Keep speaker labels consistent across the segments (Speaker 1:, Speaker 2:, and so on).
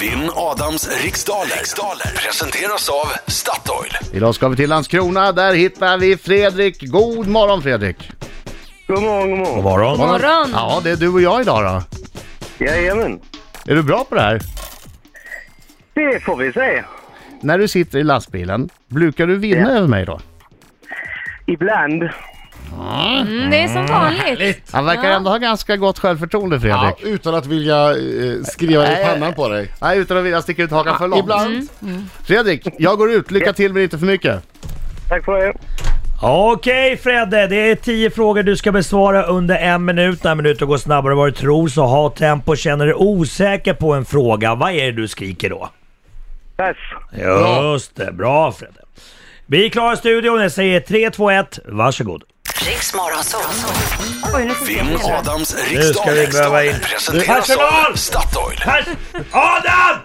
Speaker 1: Vinn Adams riksdaler. riksdaler presenteras av Statoil.
Speaker 2: Idag ska vi till Landskrona, där hittar vi Fredrik. God morgon Fredrik!
Speaker 3: God morgon, god morgon.
Speaker 4: morgon.
Speaker 5: morgon.
Speaker 2: Ja, det är du och jag idag då.
Speaker 3: Jajamän.
Speaker 2: Är du bra på det här?
Speaker 3: Det får vi se.
Speaker 2: När du sitter i lastbilen, brukar du vinna
Speaker 3: Ja.
Speaker 2: över mig då?
Speaker 3: Ibland.
Speaker 5: Mm, det är som vanligt.
Speaker 2: Han verkar
Speaker 5: Ja.
Speaker 2: ändå ha ganska gott självförtroende
Speaker 6: Ja,
Speaker 2: Fredrik.
Speaker 6: utan att vilja eh, skriva i pannan på dig.
Speaker 2: Nej, utan att vilja sticka ut hakan för långt.
Speaker 6: Ibland.
Speaker 5: Mm.
Speaker 6: Mm.
Speaker 2: Fredrik, jag går ut. Lycka till men inte för mycket.
Speaker 3: Tack för det.
Speaker 4: Okej Fredde, det är 10 frågor du ska besvara under en minut. När minuten går snabbare än vad du tror, så ha tempo. Känner du dig osäker på en fråga, vad är det du skriker då?
Speaker 3: Pass.
Speaker 4: Just det, bra Fredde. Vi klarar studion. Jag säger 3, 2, 1, varsågod.
Speaker 7: Riksmorgon, så, så.
Speaker 5: Oj, nu får vi se.
Speaker 1: Vinn Adams riksdaler.
Speaker 4: vi behöva in-
Speaker 1: presenteras av
Speaker 4: Personal!
Speaker 1: Statoil.
Speaker 4: Pers Adam!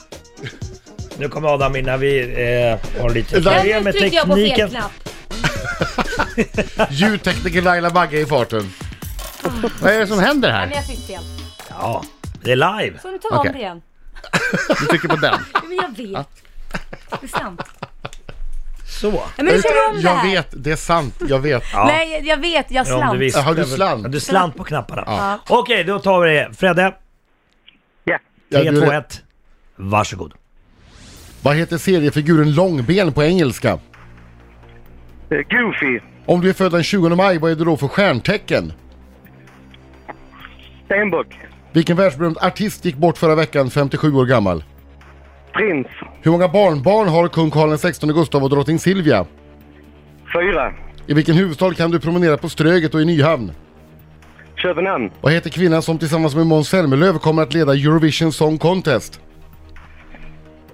Speaker 4: Nu kommer Adam innan vi eh, har lite
Speaker 5: Där
Speaker 4: problem
Speaker 5: nu
Speaker 4: med
Speaker 5: tryckte jag på fel
Speaker 4: tekniken.
Speaker 5: knapp.
Speaker 6: Ljudtekniker Laila Bagge i farten.
Speaker 2: Vad är det som händer
Speaker 5: Nej, men
Speaker 2: här?
Speaker 5: jag fick fel.
Speaker 4: Ja, det är live.
Speaker 5: Får du ta om
Speaker 2: Okej.
Speaker 5: det igen?
Speaker 2: Du trycker på den.
Speaker 5: Ja, Men jag vet. Det är sant.
Speaker 4: Så.
Speaker 5: Ja, men du känner om det
Speaker 6: Jag
Speaker 5: här.
Speaker 6: vet, det är sant. Jag vet.
Speaker 4: Ja.
Speaker 5: Nej, jag- jag vet. Jag
Speaker 4: Ja, om
Speaker 5: slant.
Speaker 4: visste
Speaker 6: Har du
Speaker 4: väl-
Speaker 6: slant?
Speaker 4: Ja, Du slant på knapparna. Okej, då tar vi det. Fredde,
Speaker 3: Ja.
Speaker 6: Ja,
Speaker 4: 3,
Speaker 6: du
Speaker 4: 2,
Speaker 6: är-
Speaker 4: 1. Varsågod.
Speaker 6: Vad heter seriefiguren Långben på engelska?
Speaker 3: Eh, Goofy.
Speaker 6: Om du är född den 20 maj, vad är du då för stjärntecken?
Speaker 3: Stenbock.
Speaker 6: Vilken världsberömd artist gick bort förra veckan, 57 år gammal?
Speaker 3: Prins.
Speaker 6: Hur många barnbarn har kung Karl XVI Gustav och drottning Silvia?
Speaker 3: Fyra.
Speaker 6: I vilken huvudstad kan du promenera på Ströget och i Nyhamn?
Speaker 3: Köpenhamn.
Speaker 6: Vad heter kvinnan som tillsammans med Måns Zelmerlöw kommer att leda Eurovision Song Contest?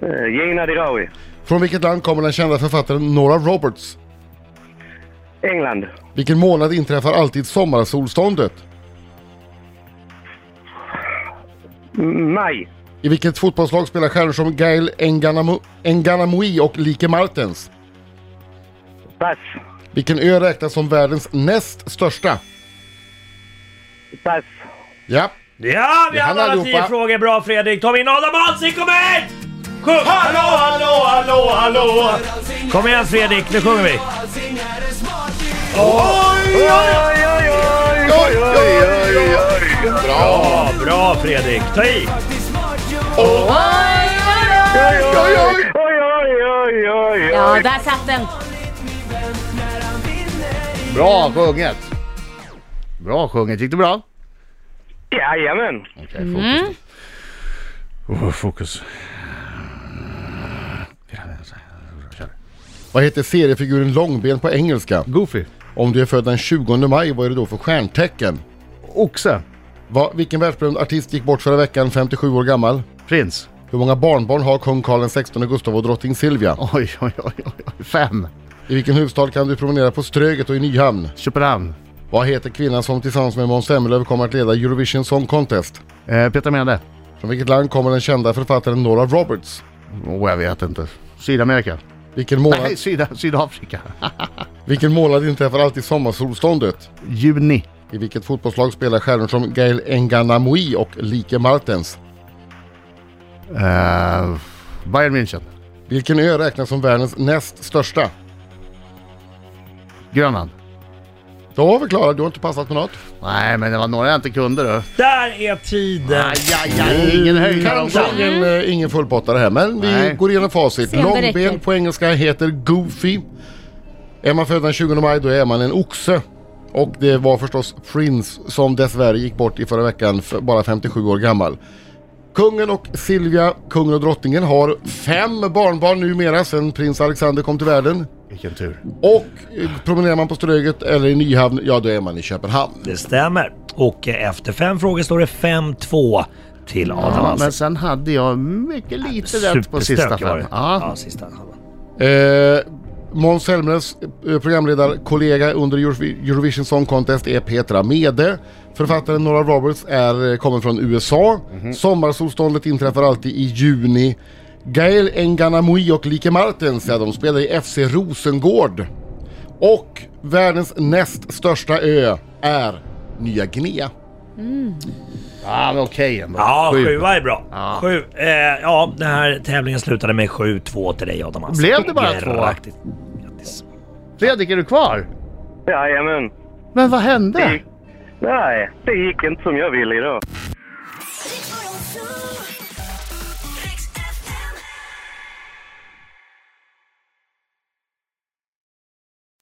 Speaker 3: Eh, Gina Dirawi.
Speaker 6: Från vilket land kommer den kända författaren Nora Roberts?
Speaker 3: England.
Speaker 6: Vilken månad inträffar alltid sommarsolståndet?
Speaker 3: M- Maj.
Speaker 6: I vilket fotbollslag spelar stjärnor som Gael Enganamu- Enganamui och Like Martens?
Speaker 3: Pass.
Speaker 6: Vilken ö räknas som världens näst största?
Speaker 3: Pass.
Speaker 6: Ja,
Speaker 4: Ja, vi
Speaker 6: Det
Speaker 4: har
Speaker 6: hann
Speaker 4: alla
Speaker 6: allihopa.
Speaker 4: tio frågor. Bra Fredrik. Tar vi in Adam Alsing, kom hit! Sjung! Hallå, hallå, hallå, hallå! Kom igen Fredrik, nu sjunger vi.
Speaker 3: Oj, oj, oj, oj, oj, oj, oj.
Speaker 4: Bra, bra Fredrik. Ta i!
Speaker 3: Oj, oj, oj, oj, oj.
Speaker 5: Ja, där satt den.
Speaker 2: Bra sjunget! Bra sjunget. Gick det bra?
Speaker 3: Jajamän.
Speaker 2: Okej, fokus då. Oh, fokus.
Speaker 6: vad heter seriefiguren Långben på engelska?
Speaker 2: Goofy.
Speaker 6: Om du är född den 20 maj, vad är du då för stjärntecken?
Speaker 2: Oxe.
Speaker 6: Va, vilken världsberömd artist gick bort förra veckan, 57 år gammal?
Speaker 2: Prins.
Speaker 6: Hur många barnbarn har kung Karl XVI Gustav och drottning Silvia?
Speaker 2: Oj, oj, oj, oj, oj. Fem.
Speaker 6: I vilken huvudstad kan du promenera på Ströget och i Nyhamn?
Speaker 2: Köpenhamn.
Speaker 6: Vad heter kvinnan som tillsammans med Måns Zelmerlöw kommer att leda Eurovision Song Contest?
Speaker 2: Eh, Petra Mede.
Speaker 6: Från vilket land kommer den kända författaren Nora Roberts?
Speaker 2: Åh, jag vet inte. Sydamerika.
Speaker 6: Vilken månad,
Speaker 2: Nej, Syda, Sydafrika.
Speaker 6: vilken månad inträffar alltid sommarsolståndet?
Speaker 2: Juni.
Speaker 6: I vilket fotbollslag spelar stjärnor som Gael Enganamui och Like Martens?
Speaker 2: Eh, Bayern München.
Speaker 6: Vilken ö räknas som världens näst största?
Speaker 2: Grönland.
Speaker 6: Då var vi klara, du har inte passat på något.
Speaker 2: Nej, men det var några jag inte kunde du.
Speaker 4: Där är tiden.
Speaker 2: Ajajaj, ingen höjdare om
Speaker 6: Kanske
Speaker 2: dagen.
Speaker 6: ingen, eh, ingen fullpottare här, men vi
Speaker 2: Nej.
Speaker 6: går igenom facit.
Speaker 5: Se om det räcker.
Speaker 6: Långben på engelska heter Goofy. Är man född den 20 maj då är man en oxe. Och det var förstås Prince som dessvärre gick bort i förra veckan, f- bara 57 år gammal. Kungen och Silvia, kungen och drottningen, har fem barnbarn numera sedan prins Alexander kom till världen.
Speaker 2: Vilken tur.
Speaker 6: Och eh, promenerar man på Ströget eller i Nyhavn, ja då är man i Köpenhamn.
Speaker 4: Det stämmer. Och eh, efter fem frågor står det 5-2 till Adam
Speaker 2: Ja, men
Speaker 4: Alsing.
Speaker 2: sen hade jag mycket lite rätt på sista
Speaker 4: Superstökig var
Speaker 2: fem.
Speaker 4: det.
Speaker 2: Ja.
Speaker 4: Ja, sista halvan.
Speaker 6: Eh, Måns Zelmerlöws eh, programledarkollega under Eurovi- Eurovision Song Contest är Petra Mede. Författaren Nora Roberts är, eh, kommer från USA. Sommarsolståndet inträffar alltid i juni. Gael Enganamui och Like Martens, ja, de spelar i FC Rosengård. Och världens näst största ö är Nya Guinea.
Speaker 2: Ja, men okej ändå.
Speaker 4: Ja,
Speaker 2: Sju.
Speaker 4: sjua är bra. Sju. Eh, ja, den här tävlingen slutade med 7-2 till dig Adam Alsing.
Speaker 2: Blev det bara två?
Speaker 4: Grattis. Grattis.
Speaker 2: Fredrik, är du kvar?
Speaker 3: Jajamän.
Speaker 2: Men vad hände?
Speaker 3: Nej, det gick inte som jag ville idag.